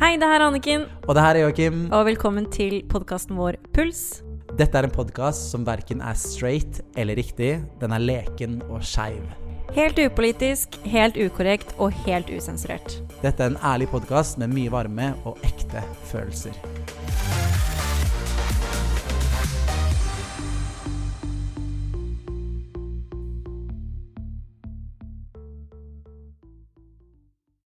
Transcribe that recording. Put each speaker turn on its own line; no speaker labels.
Hei, det her er Anniken,
Og det her er Joakim.
og velkommen til podkasten vår Puls.
Dette er en podkast som verken er straight eller riktig. Den er leken og skeiv.
Helt upolitisk, helt ukorrekt og helt usensurert.
Dette er en ærlig podkast med mye varme og ekte følelser.